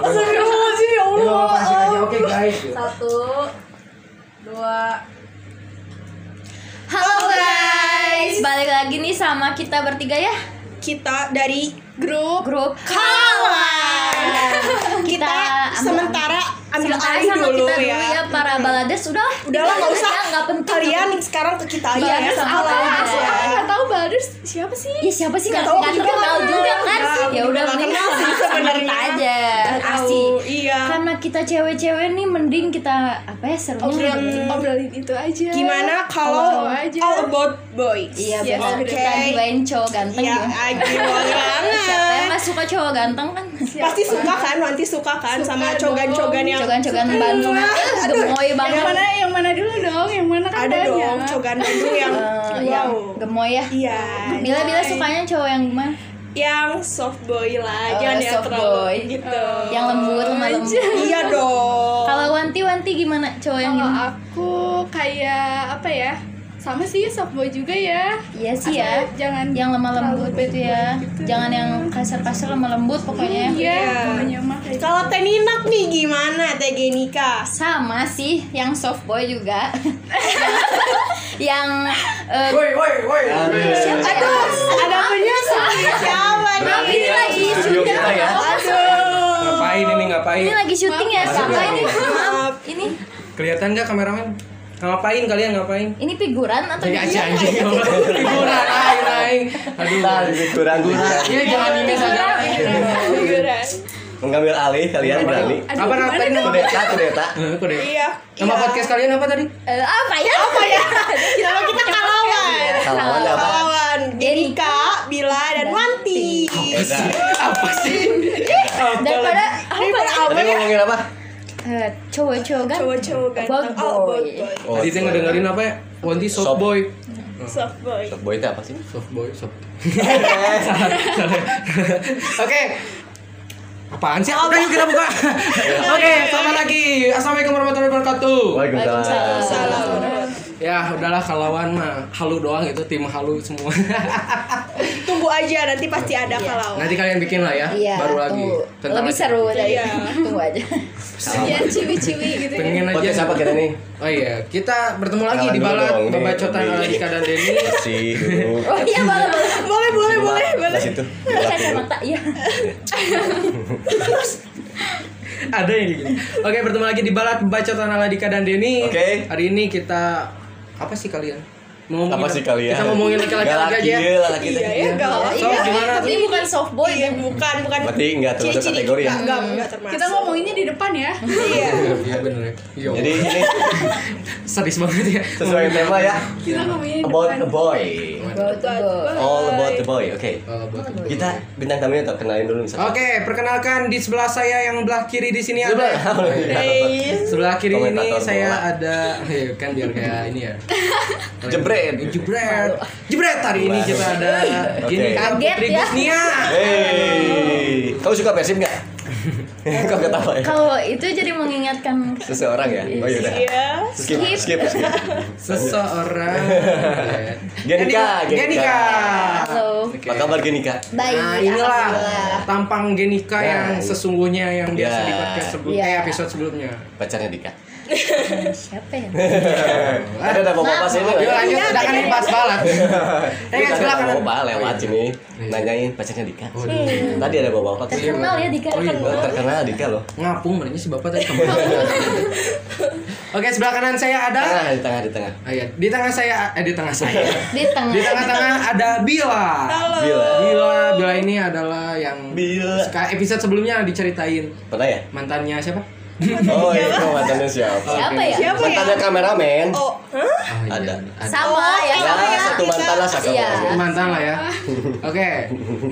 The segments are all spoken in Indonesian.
Astagfirullahaladzim Ya, ya Allah pasir aja oke guys. Satu Dua Halo guys Balik lagi nih sama kita bertiga ya Kita dari grup Grup Kawan Kita Kita sementara ambil Sementara alih sama dulu kita dulu ya, ya Para balades udah lah Udahlah nggak usah Aja, nggak penting Kalian sekarang ke kita aja Iya, ya sama Salah kita aja. aja. Nggak tahu Hmm. Ya siapa sih Nggak nggak tahu nggak juga terkenal kan. juga kan Nggak, Ya udah nggak mending kenal sih sama- sama sebenarnya. kita aja Nggak tahu, Asik. iya. Karena kita cewek-cewek nih Mending kita Apa ya serunya Obrolin- obrolin itu aja Gimana kalau All about boys Iya Yes, benar Oke Kita dibain cowok ganteng Ya, juga. agree Siapa yang banget nggak suka cowok ganteng kan Ya. Pasti suka kan, nanti suka kan sama cogan-cogan yang Cogan-cogan Bandung Eh, Gemoy Iya. Yang banget mana yang mana dulu dong yang mana kan ada banyak. dong cogan Bandung yang Eh, yang wow gemoy ya iya Bila-bila sukanya cowok yang gimana? yang soft boy lah Oh, jangan yang soft terlalu boy. gitu Yang lembut, lemah lembut. iya dong Kalau wanti-wanti gimana cowok yang kalau gimana? aku kayak apa ya sama sih soft boy juga ya Iya sih ya. Asal jangan Yang lemah lembut terlalu gitu ya. gitu. Jangan yang kasar-kasar lemah lembut pokoknya. ya. iya Iya. pokoknya mah kayak gitu. kalau teninak nih gimana teh Genika Sama sih yang soft boy juga. yang eh, Woi, woi, woi. siapa ya? ada punya siapa Maaf, nih ini lagi Studio syuting. kita ya. aduh Ngapain ini ngapain? Ini lagi syuting ya, Maaf, siapa maaf. ini? Maaf. Ini Kelihatan nggak kameramen? Ngapain kalian ngapain? ini figuran atau Ini aja gimana? anjing. Figuran aing aing. Aduh. kurang Ya jangan ini saja. Figuran. mengambil alih kalian berani Aduh, Apa gimana apa ini? Kode. kudeta kudeta Eh, Kode. iya Nama iya. podcast kalian apa tadi? Eh, apa ya? Apa ya? Nama kita kalawan kalau ada apa kalawan Iya. Genika Bila dan Wanti beda Apa sih? Daripada daripada apa tadi ya ngomongin apa eh, cowok-cowok ganteng. cowok-cowok About ganteng boy. oh boy oh, Tadi saya ngedengerin apa ya? Wanti soft Soft. boy. soft boy Soft boy itu apa sih Soft boy, soft. Salah, salah. Oke. Apaan sih? Udah yuk kita buka. Oke, selamat lagi. Assalamualaikum warahmatullahi wabarakatuh. waalaikumsalam Ya udahlah kalawan mah halu doang itu tim halu semua. tunggu aja nanti pasti ada kalau Nanti kalian bikin lah ya, Iya, baru lagi. tunggu. Tentang Lebih aja. seru dari Iya. tunggu aja. Kasihan iya, ciwi-ciwi gitu ya Pengen aja. podcast apa kita nih Oh iya, kita bertemu lagi Kenalan di dulu balat dong, nih, pembacotan lebih. Aladika dan Denny. bersih Iya dulu Oh iya boleh boleh. boleh boleh boleh boleh Pas itu Kacamata iya. Ada yang gitu. gini. Oke, bertemu lagi di balat pembacotan Aladika dan Denny. Oke. Hari ini kita apa sih kalian? Mau ngomongin apa sih kalian Kita ngomongin laki-laki aja ya. Iya, laki iya ya kalau So, iya gimana Tapi bukan soft boy iya kan. bukan bukan berarti nggak termasuk Ciri-ciri kategori ya nggak, nggak nggak termasuk kita ngomonginnya di depan ya iya Iya bener ya. Iya. jadi ini serius banget ya. sesuai tema ya kita ngomonginnya di about depan a boy Bawa tuh, bawa. all about the boy oke Kalau Oh, buat- kita bintang tamunya tak kenalin dulu misalnya Oke, perkenalkan di sebelah saya yang belah kiri di sini ada. Oh, iya. Hey. Sebelah kiri ini Komentator saya bola. ada Eh, kan biar kayak ini ya. Jebret. Jebret. Jebret hari ini kita ada gini Oke. kan Kaget Putri ya. Gusnia. Hey, kamu suka persib nggak? Kamu ketawa ya? Kalau itu jadi mengingatkan Seseorang ya? Oh iya udah. iya Skip, skip, skip. Seseorang. Genika, Genika. Halo. Oke. Apa kabar Genika? Baik. Nah, inilah alhamdulillah. tampang Genika Ya. yang sesungguhnya yang biasa Ya. di podcast sebelum Ya. eh, episode sebelumnya. Pacarnya Dika. Siapa ya? Ada ada bapak sini. Yuk lanjut, Iya, udah kan iya. ini pas balat. Eh, yang Ada sebelah kanan. bapak Iya, Oh, lewat iya. sini nanyain pacarnya Dika. Tadi ada bapak bapak sini. Oh, iya. Terkenal ya Dika. Oh, iya. Oh, terkenal Dika loh. Ngapung badannya si bapak tadi kemana? Oke, sebelah kanan saya ada. Tengah, di tengah, di tengah. Ah, iya. Di tengah saya, eh di tengah saya. Di di tengah. tengah-tengah ada Bila. Bila. Bila, Bila ini adalah yang Bila. Seka- episode sebelumnya diceritain Pernah ya? mantannya siapa? Oh iya, mantannya siapa? Siapa ya? siapa ya Mantannya kameramen. oh hah? Ah, iya, Ada. ada. Sama Oh, ya. Ya, sama ya. satu mantan lah satu. Iya. Mantan lah ya. Oke.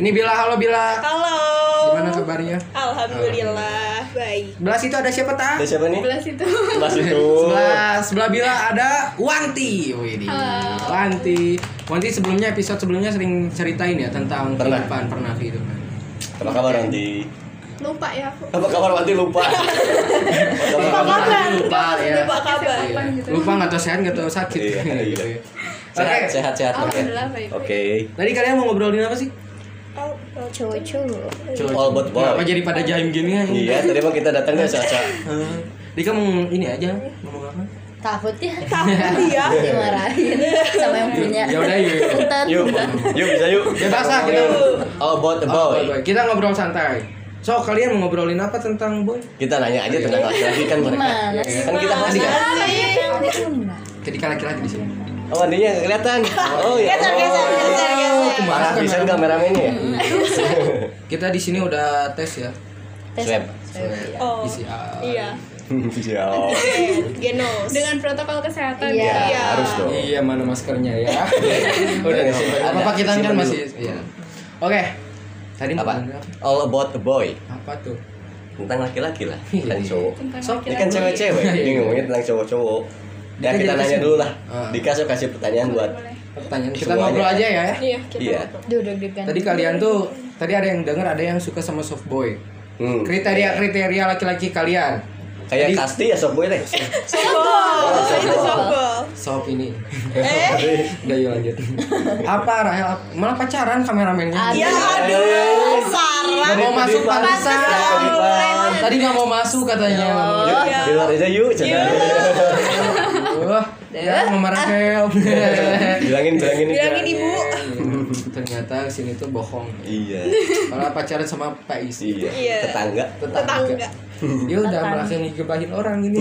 Ini Bila, halo Bila. halo Gimana kabarnya? Alhamdulillah baik. Belas itu ada siapa ta? Ada siapa nih? Belas itu. Belas itu. Sebelah sebelah Bila ada Wanti. Wih, Wanti. Wanti sebelumnya episode sebelumnya sering ceritain ya tentang Pernah. kehidupan pernah gitu kan. kehidupan. Apa kabar nanti? Lupa ya aku. Apa kabar nanti lupa? Apa Apa kabar? kabar? Lupa ya. Apa kabar? Iya. Apa gitu. Lupa nggak tahu sehat nggak tahu sakit. Iya, Gitu iya. ya. Sehat, Oke. sehat, sehat. Oke. Alhamdulillah baik. Oke. Tadi kalian mau ngobrolin apa sih? Oh, oh, Cowok-cowok All but boy. Kenapa jadi pada jaim gini ya? Iya, tadi mah kita datangnya sehat-sehat. Eh, Dika mau ini aja ngomong apa? Takut ya Takut ya. dimarahin sama yang punya Ya udah yuk. Punten Yuk, yuk bisa yuk. Bebas lah, kita- All about the Oh, boy. boy. Kita ngobrol santai. So kalian mau ngobrolin apa tentang boy? Kita nanya aja tentang laki-laki kan mereka. Gimana sih? Kan kita mandi kan? Iya. Ketika laki-laki di sini. Oh, mandinya nggak kelihatan. Oh ya. Geser, geser, geser, geser. Parah pisan kameramennya ya. Kita di sini udah tes ya. ah, Tes Swab. apa? Oh. PCR. Iya. Siap. Genos. Dengan protokol kesehatan. Iya. Ya, harus dong. Iya, mana maskernya ya? udah Udah, disimpan. udah. Apa kita kan Simpan masih iya. Oke. Tadi mau Apa? ngomongin apa? All about the boy. Apa tuh? Tentang laki-laki lah. Kan cowok. Tentang So, Ini kan laki-laki. cewek-cewek. Ini ngomongnya tentang cowok-cowok. Dika Ya kita jadi nanya kesini. dulu lah. Ah. Dika sok kasih pertanyaan buat Boleh. Pertanyaan kita Semuanya. ngobrol aja ya. Iya, kita Iya. ngobrol. Duh deg-degan Tadi kalian tuh tadi ada yang denger ada yang suka sama soft boy. Hmm. Kriteria-kriteria laki-lasti kalian. Kayak Jadi- kasti ya sok boy deh. Softball. Itu softball. Soft ini. Eh. Udah yuk lanjut. apa Rahel? Malah pacaran kameramennya. Ya aduh, Sarah. Gak mau masuk pantesan. Tadi nggak mau masuk katanya. Yuk, Iya. di luar aja yuk, cendera. Wah, ya sama Rahel. Bilangin, bilangin. Bilangin ibu. Ternyata sini tuh bohong. Iya, Malah pacaran sama Pak Isi. iya. Iya. Tetangga. Tetangga. Dia udah merasa ngegebahin orang ini.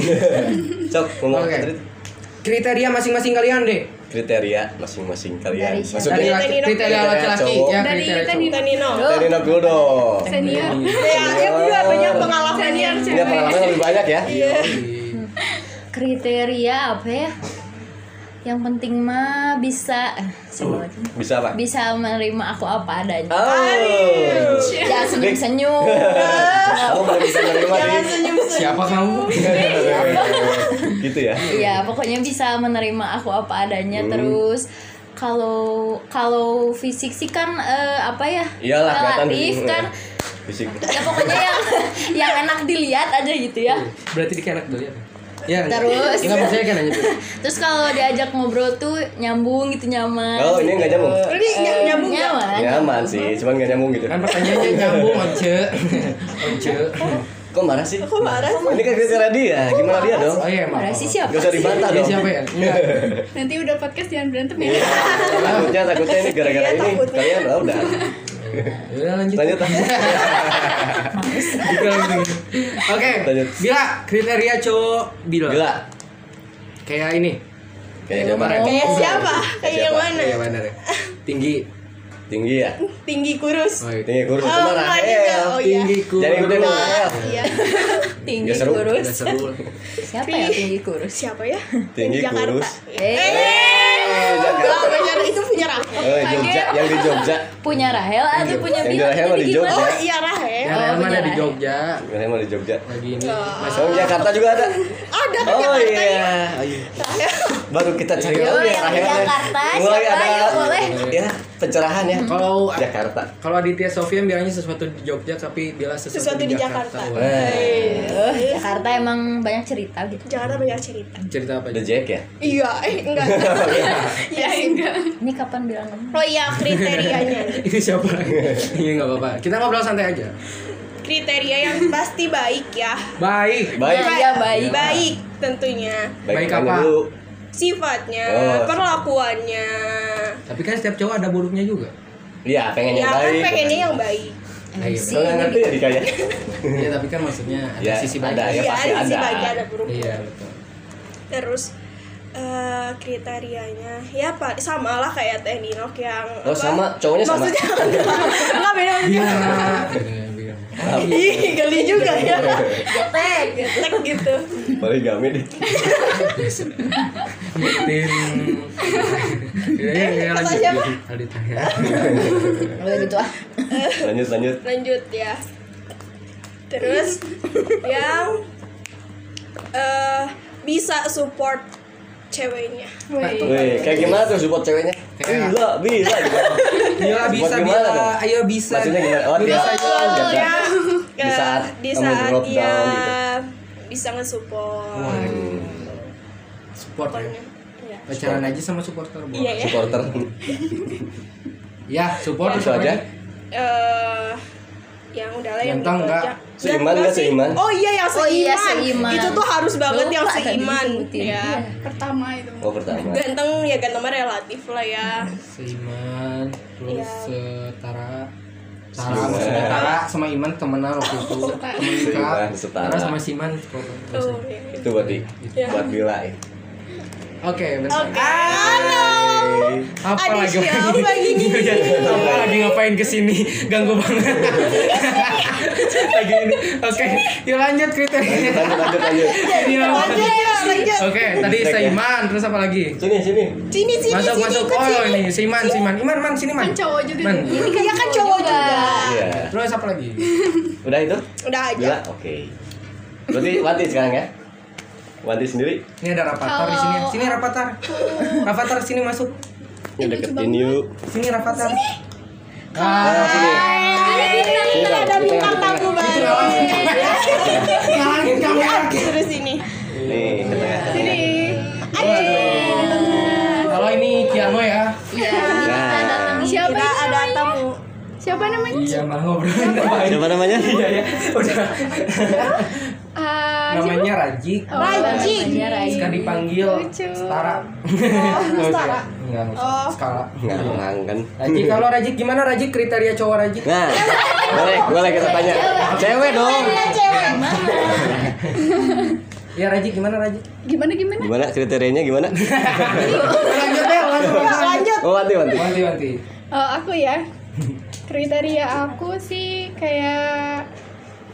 Sok, ngomong Oke. kriteria- Kriteria masing-masing kalian deh. kriteria masing-masing Dari kalian. siapa? Dari Maksudnya laki, kriteria laki-laki Cowok. ya Dari kriteria kita cowok. nih Kita Nino. dari Oh. Nok dulu dong. senior. Ya, ya udah banyak pengalamannya. Senior Dia cewek. pengalaman lebih banyak ya. Iya. Kriteria apa ya? Yang penting mah bisa eh, siapa lagi? Bisa apa? Ah. bisa menerima aku apa adanya. Oh. Ya senyum-senyum. Kamu belum Oh, bisa menerima Jangan di. senyum-senyum. Siapa kamu? Iya, Gitu ya. Iya, pokoknya bisa menerima aku apa adanya Hmm. terus kalau kalau fisik sih kan eh, apa ya? Iyalah kelihatan relatif di- kan. Fisik. Ya pokoknya yang yang enak dilihat aja gitu ya. Hmm. Berarti dikenak dulu ya. Ya. Terus. Enggak percaya kan nanya dulu. Terus kalau diajak ngobrol tuh nyambung gitu nyaman. Oh, ini nggak nyambung. Ini ny- nyambung nggak? Nyaman. Nyaman sih, cuman nggak nyambung gitu. Kan pertanyaannya nyambung once. Once. Kok marah sih? Aku marah. Ini kan kriteria dia, gimana dia dong? Oh iya, maaf. Mana sih siapa? Gak usah sih? dibantah Dia dong. siapa ya? Enggak. Nanti udah podcast jangan berantem ya. Iya. Takutnya, takutnya ini Iya, gara-gara ini kalian lah udah. Udah lanjut. Lanjut. Dika langsung. Oke. Lanjut. Bila kriteria cowok bila. Gila. Kayak ini. Kayak kemarin Kayak siapa? Kayak yang Siapa? mana? Iya benar ya. Tinggi. tinggi ya. Tinggi kurus. Oh, iya. Tinggi kurus Oh, itu marah. enggak juga. Oh iya. Tinggi kurus. Jadi udah Nah, marah. Iya. Tinggi Nggak seru. kurus. Udah seru. Siapa yang tinggi kurus? Siapa ya? Tinggi Yang di Jakarta. kurus. Eh, Eh, Jakarta. Enggak, benar itu punya Rahel. Eh, Jogja, yang di Jogja. punya Rahel atau punya Yang di Bila? Rahel Jadi apa di gimana? Jogja? Oh iya Rahel. Yang lain punya Ya, mana di Rahel. Jogja? Gimana mau di Jogja? Lagi ini. Oh. Sekarang Jakarta juga ada. Ada kan Oh Jakarta ya. iya. Oh, iya. Baru kita cari Yo, tahu ya yang di Rahel. Jakarta, Mulai siapa? ada Yuk, boleh. ya pencerahan ya. Kalau Jakarta. Kalau Aditya Sofian bilangnya sesuatu di Jogja tapi bila sesuatu, Sesuatu di Jakarta. Iya. Wah. Eh, Eh, Jakarta emang banyak cerita gitu. Jakarta banyak cerita. Cerita apa? The Jack ya. Iya, eh enggak. Oh, Iya, enggak. Ini kapan bilangnya? Oh iya, kriterianya. Ini siapa? Iya nggak apa-apa. Kita ngobrol santai aja. Kriteria yang pasti baik ya. Baik. Baik. Iya, baik. Baik tentunya. Baik mana apa? dulu? Sifatnya, Oh. perlakuannya. Tapi kan setiap cowok ada buruknya juga. Iya, pengen Ya yang kan baik. pengennya yang baik. Nah, iya, MC. Kalau nggak ngerti ya Dika ya. Iya tapi kan maksudnya ada Ya, sisi ada baiknya. ya. Iya, pasti ada sih ada. baiknya ada buruknya. Iya betul. Terus eh, kriterianya ya pak sama lah kayak Teh Ninok yang Oh, sama. Cowoknya sama. maksudnya nggak beda Iya. maksudnya ih geli juga ya Getek. tek gitu Poligami deh. Tim. Iya iya iya, lanjut. Siapa? Aditya. Udah gitu ah. Lanjut lanjut. lanjut ya terus yang eh bisa support ceweknya Wih, kayak gimana tuh support ceweknya? Kayak- Gila, bila gitu. Gila Iya, bisa Buat gimana bila, dong? ayo bisa. Maksudnya gimana? Oh, Bila dia- saja. dia- Betul, ya. Di Eh, saat di kamu gitu. saat ya. drop dia down bisa nge-support Waduh. Support ya. Pokoknya, ya. Pacaran aja sama supporter bola. Iya, ya. Supporter. Ya, support Itu aja. eh yang udah lah yang Ganteng nggak? dipercaya. Seiman Ganteng nggak seiman? Oh iya yang Oh seiman. iya, seiman. Itu tuh harus banget Lupa yang tadi seiman. disebutin. Ya. Iya. Pertama itu. Oh, pertama. Ganteng ya ganteng mah relatif lah ya. Seiman, terus Iya. setara. Tara Seiman. sama Tara sama Iman temenan waktu itu. Temen nikah. Seiman, setara. Tara sama Siman. Terus. Tuh. ya. Itu buat di, buat bila ya. Oke, bentar. Oke. Halo. Apa Ada lagi? Iya, siapa gini Apa lagi ngapain kesini? Ganggu banget. lagi ini. Oke, yuk lanjut kriterianya. Lanjut, lanjut, lanjut, lanjut. Ini apa? Lanjut ya, lanjut. Oke, tadi Oke. Seiman, terus apa lagi? Sini, sini. Sini sini masuk sini masuk ikut oh sini. ini si Iman si Iman Iman man sini man Kan cowok juga man dia. Iya kan cowok juga. Iya. terus apa lagi Udah itu? Udah aja. Bila, oke. Berarti Wanti sekarang ya? Wanti sendiri? ini ada rapatar di sini sini rapatar rapatar sini masuk Ini deketin yuk. sini rapatar Ah, ah sini. Kan ada Sini, Bang. Di tengah, bintang di tamu tengah. baru. ngalahin ya. kamera Terus ini. Nih, Nah. ke tengah. Sini. kalau ini Kiano ya Iya, kita Nah. datang Siapa Kita ini ada namanya? tamu. Siapa namanya? iya mah ngobrol Siapa namanya? iya ya udah Ah, siapa? namanya Raji Oh, iya. Raji. namanya Raji. suka dipanggil Lucu. Setara Oh, Setara. enggak Oh. usah skala Ngarang kan. Raji kalau Raji gimana Raji kriteria cowok Raji Nah, boleh, boleh kita tanya. Cewek dong. Iya, ya Raji gimana Raji Gimana gimana? Gimana kriterianya gimana? lanjut ya lanjut Nggak, Oh, lanjut. Oh, Wanti, Wanti. Wanti Wanti Eh, aku ya. Kriteria aku sih kayak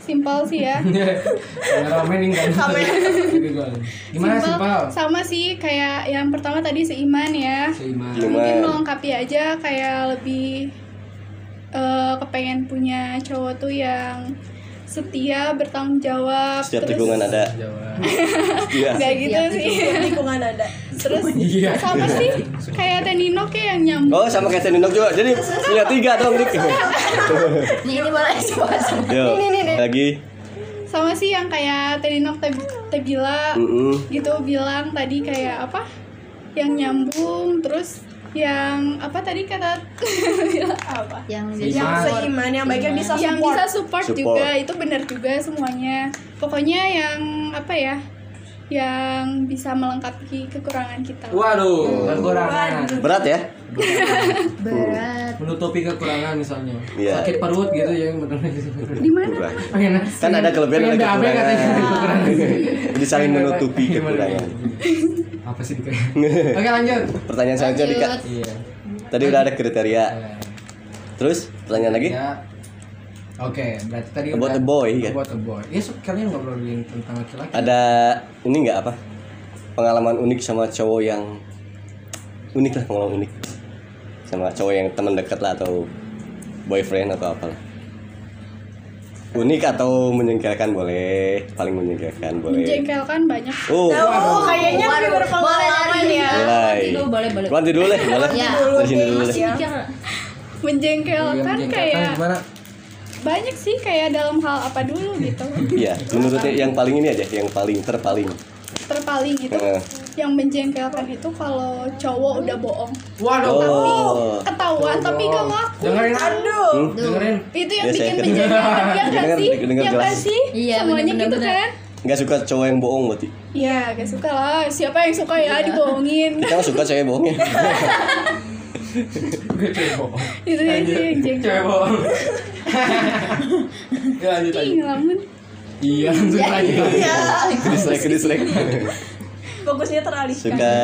simpel sih ya. Kameramen ini kan. Gimana sih, Pal? Sama sih kayak yang pertama tadi seiman ya. Seiman. Mungkin Cuman melengkapi aja kayak lebih eh, kepengen punya cowok tuh yang setia, bertanggung jawab. setiap tikungan ada. Jawa. Iya. Gak gitu sih. Lingkungan ada. Terus Iya. sama sih kayak Tenino kayak yang nyambung. Oh, sama kayak Tenindok juga. Jadi punya tiga dong, Dik. Nih, ini boleh semua semua. Yo. Lagi. Sama sih yang kayak Tenino Tebila Mm-mm. gitu bilang tadi kayak apa? Yang nyambung terus yang apa tadi kata bilang apa? Yang Iya. Yang Seiman. seiman yang baiknya bisa yang support. bisa support, Support. juga itu benar juga semuanya pokoknya yang apa ya yang bisa melengkapi kekurangan kita Waduh, kekurangan. Berat ya? berat. Menutupi kekurangan misalnya. Iya. Sakit perut gitu ya, benar di mana Berat. Pengen nasi. Kan ada kelebihan Pengen ada dabe kekurangan. katanya, kekurangan. Jadi saling Pengen menutupi dabe. kekurangan. Apa sih Dika? Oke, lanjut. Pertanyaan selanjutnya Dika. Iya. Tadi udah ada kriteria. Terus pertanyaan lagi? Ya. Oke, berarti tadi About udah- a boy, kan? About a boy. Ya, so, kalian ngobrolin tentang laki-laki. Ada ini nggak apa? Pengalaman unik sama cowok yang unik lah pengalaman unik sama cowok yang teman dekat lah atau boyfriend atau apalah unik atau menyingkirkan boleh paling menyingkirkan boleh menjengkelkan banyak oh Oh, kayaknya Waduh, lebih berpengalaman boleh ya. mulai Dulu boleh boleh. Wanti dulu deh boleh Iya. dari sini dulu deh Masih mikir. Iya, menjengkelkan menjengkelkan kayak gimana? banyak sih kayak dalam hal apa dulu gitu Iya, menurutnya yang paling ini aja, yang paling terpaling. Eh, terpaling itu Heeh. yang menjengkelkan itu kalau cowok udah bohong Waduh. Oh, ketahuan tapi gak ngaku Dengerin Aduh. Hmm? Dengerin. itu yang Iya, saya bikin denger. menjengkelkan ya gak Denger, sih denger ya gak jelas. sih Iya, semuanya gitu bener-bener. kan nggak suka cowok yang bohong berarti. ya gak suka lah siapa yang suka Iya. ya dibohongin Kita mah suka cewek bohongnya. Gue cewek bohong. itu aja yang jengkel Cewek bohong. Ya, lanjut Ih, lanjut. ngelamun Iya, langsung lanjut. Dislike, dislike. Fokusnya teralihkan. Suka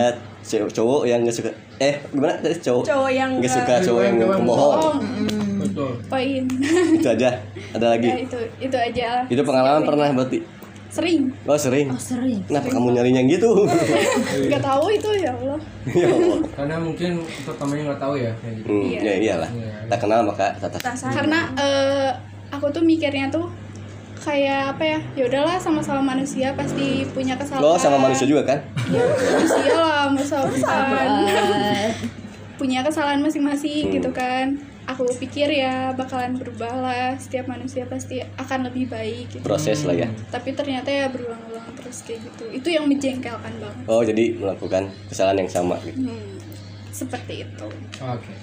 cewek cowok yang nggak suka. Eh, gimana tadi cowok? Cowok yang nggak nggak- suka cowok yang Cowok yang pembohong. bohong Betul. poin Itu aja. Ada ya, lagi. itu itu aja Itu pengalaman pernah berarti. sering Oh, sering. Oh, sering. Kenapa kamu nyarinya gitu? nggak tahu itu ya allah ya Allah. Karena mungkin pertamanya nggak tahu ya. kayak gitu. Hmm, ya iyalah. Tak kenal maka tak tak. Perasaan. karena eh, aku tuh mikirnya tuh kayak apa ya ya udahlah sama-sama manusia pasti punya kesalahan Lo sama manusia juga kan? ya manusia lah masa bukan. Eh, punya kesalahan masing-masing Hmm. gitu kan aku pikir ya bakalan berubah lah setiap manusia pasti akan lebih baik gitu Proses lah ya. tapi ternyata ya berulang-ulang terus kayak gitu itu yang menjengkelkan banget Oh jadi melakukan kesalahan yang sama. gitu. Hmm, seperti itu Oke.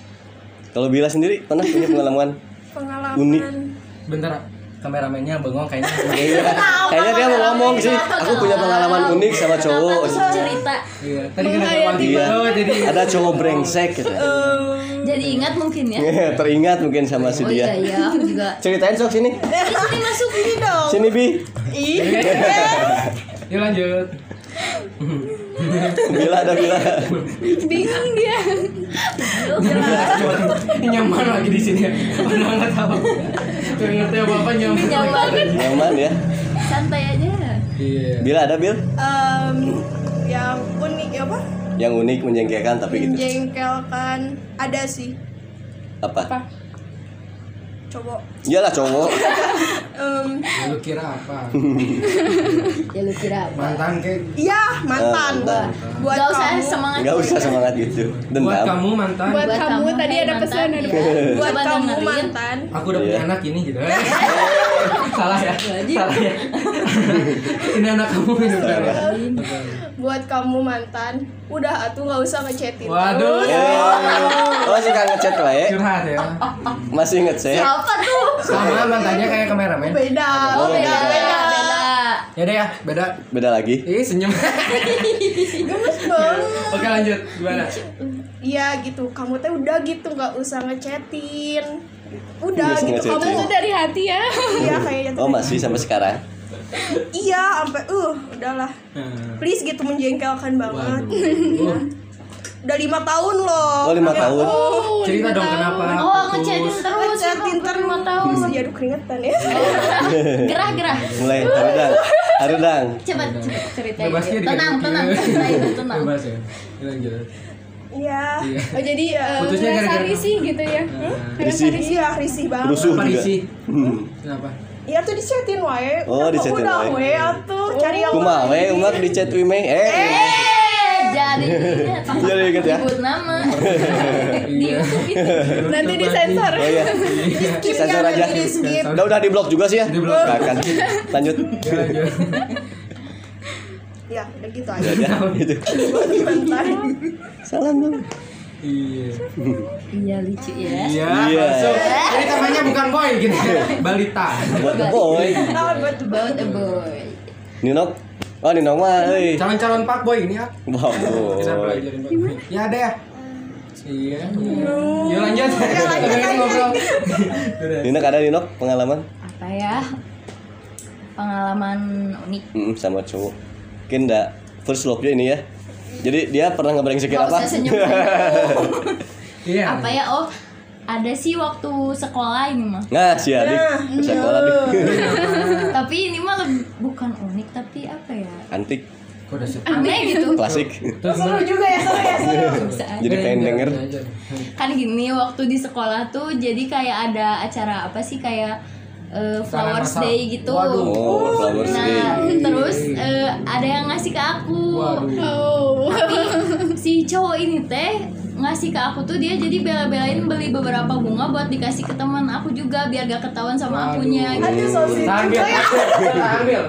Kalau Bila sendiri pernah punya pengalaman? pengalaman Unik. Bentar kameramennya bengong kayaknya. Iya. Kayaknya dia mau ngomong sih. Aku punya pengalaman unik sama kenapa cowok. tuh cerita Iya. Tadi kan ada Menghayati wangi. Iya. Oh, jadi Ada cowok brengsek gitu. jadi ingat mungkin ya Teringat mungkin sama si oh iya Iya, dia. iya aku juga Ceritain sok sini. ini masuk ini dong Sini Bi. Ih, Iya. Yuk lanjut. Bila ada Bila. bingung dia Ini nyaman lagi di sini. ya. Padahal nggak tahu. Nggak ngerti apa apa nyaman. nyaman Nyaman ya. santai aja Iya. Bila ada Bil em, yang unik ya apa yang unik menjengkelkan tapi gitu. menjengkelkan ada sih Apa? cowok Iyalah cowok. Em, Lu kira apa? ya lu kira apa Mantan kayak iya mantan Oh, mantan. buat Gak usah kamu semangat Enggak usah semangat gitu. buat Dendam. kamu mantan. Buat kamu, tadi hai ada pesan, mantan, ada ya. buat Coba kamu dengerin. mantan Aku udah punya Iya. anak ini gitu. Salah ya. Salah ya. Ini anak kamu ini bener ya? buat kamu mantan udah atuh nggak usah ngechatin Waduh. Eh, Oh suka ngechat lah ya. Curhat ya. Masih ngechat. apa tuh Sama mantannya kayak kameramen. beda Oh, beda beda. beda beda Ya deh ya, beda. Beda lagi. Ih, senyum. gemes banget Oke, lanjut. Gimana? Iya gitu, kamu teh udah gitu nggak usah ngechatin. Udah Nggak usah gitu, kamu itu ngechatin. udah dari hati ya iya kayaknya. Oh masih sampai sekarang. Iya, sampai uh, udahlah. Hmm. Please gitu menjengkelkan banget. Waduh. Oh, Udah lima tahun loh. Oh lima Kayak, tahun. oh cerita dong kenapa oh ngechatin putus. terus Ngechatin terus. lima tahun Bisa jadi keringetan Iya. ya. gerah gerah Mulai harudang. Harudang. coba coba ceritain Bebasnya dulu. dikasih tenang gitu. tenang tenang tenang Eh? Bebas ya. Ini Lanjut. Iya. Iya. Oh, jadi eh, Putusnya ngerasa gara-gara- risih gitu ya Risih. Iya, risih banget. Rusuh Apa juga. isi? Hmm. Kenapa? Iya tuh dichatin wae. Oh, Kenapa dichatin udah wae. wae atuh Oh. cari yang Kumaha we umak di chat we meh. Eh. eh jadi ingat. Jadi ingat ya. sebut nama Iya. nanti disensor Oh iya. skip Sensor nanti aja. di skip. Udah udah di blok juga sih ya. Di blok. Nggak akan. Lanjut. Iya, lanjut. Ya, udah gitu Ya aja. udah, gitu. Mantan. Salam dong. Iya. iya lucu ya Iya. Iya. masuk. Jadi temanya bukan boy gitu. Balita. Buat boy. Tahun buat about a boy Ninok. Oh Ninok mah euy. Calon-calon pak boy ini ya. Wah, Kenapa boy. jadi boy? Ya ada ya. Iya. Yuk lanjut. Dengerin ngobrol. Udah. Ninok ada Ninok pengalaman apa ya pengalaman unik Mm, sama cowok. Mungkin enggak first love-nya ini ya. Jadi dia pernah ngebrengsekin Gak apa? usah senyum Iya. apa ya oh ada sih waktu sekolah ini mah Nah, si Adi ke iya. sekolah nih. tapi ini mah leb- bukan unik tapi apa ya Antik, Kok udah sih? aneh gitu klasik. Terus Seru juga ya, seru ya, seru. Jadi pengen denger. kan gini waktu di sekolah tuh jadi kayak ada acara apa sih kayak eh, flowers masal. day gitu Waduh. Oh, Flowers Day. nah terus eh, ada yang ngasih ke aku Waduh. oh si cowok ini teh ngasih ke aku tuh dia jadi bela-belain beli beberapa bunga buat dikasih ke teman aku juga biar gak ketahuan sama Waduh. akunya gitu. Aduh, so sweet. ya. Tahan ambil. Tahan ambil.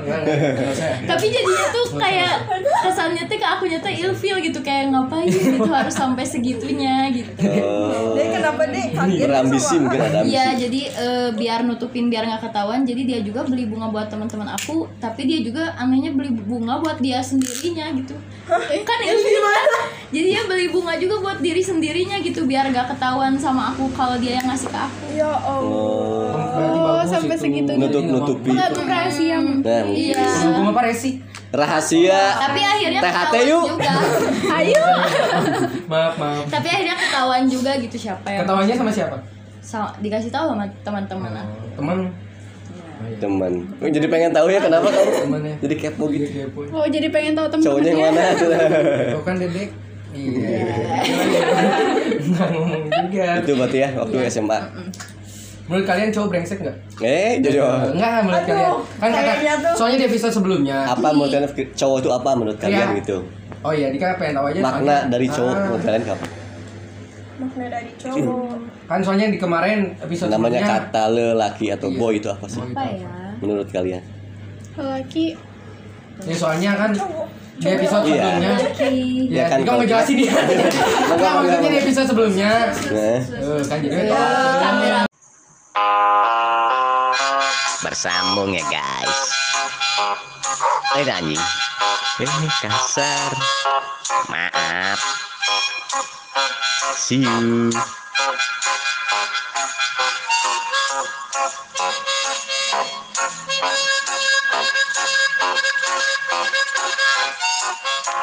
tapi jadinya tuh kayak kesannya tuh ke akunya tuh ilfil gitu kayak ngapain gitu harus sampai segitunya gitu Oh, Deh, kenapa deh? Kaget berambisi sama- mungkin ada kan Iya, ambisi. jadi eh, biar nutupin biar nggak ketahuan, jadi dia juga beli bunga buat teman-teman aku, tapi dia juga anehnya beli bunga buat dia sendirinya gitu. kan itu Jadi dia beli bunga juga buat diri sendirinya gitu, biar nggak ketahuan sama aku kalau dia yang ngasih ke aku. Ya Allah. Oh, Oh, sampai segitunya. nutup-nutupi. mengagum rahasia Nah, Iya. Berhubung apa resi? rahasia. Tapi akhirnya THT ketahuan yuk. juga. Maaf, maaf. tapi akhirnya ketahuan juga gitu siapa yang Ketawanya sama siapa? Sa- dikasih tahu sama teman-teman Nah. aku. Teman. Teman. Gue jadi pengen tahu ya kenapa kamu Temannya. jadi kepo Iya, gitu. iya, boy. oh jadi pengen tahu Cowoknya yang teman-temannya mana? Kau kan dedek. Iya. Nggak ngomong juga. Iya. Itu berarti ya waktu SMA. Menurut kalian cowok brengsek nggak? Eh, jodoh. Enggak enggak menurut Aduh, kalian. Kan kata kayaknya tuh. soalnya di episode sebelumnya. Apa menurut kalian cowok itu apa menurut kalian Iya. gitu? Oh iya, Dika pengen tahu aja Makna soalnya- dari cowok Ah. menurut kalian apa? makna dari cowok Kan soalnya di kemarin episode Namanya sebelumnya kata lelaki atau Iya. boy itu apa sih Boy. apa ya menurut kalian? lelaki Ya soalnya kan cowok di episode Iya. sebelumnya Oke. Ya, Ya kan, Dika kalau- mau jelasin dia. Enggak Iya, maksudnya di episode sebelumnya. Nah, Eh, kan Iya. ya. jadi kamera Bersambung ya guys. Eh anjing. Eh kasar. Maaf. See you.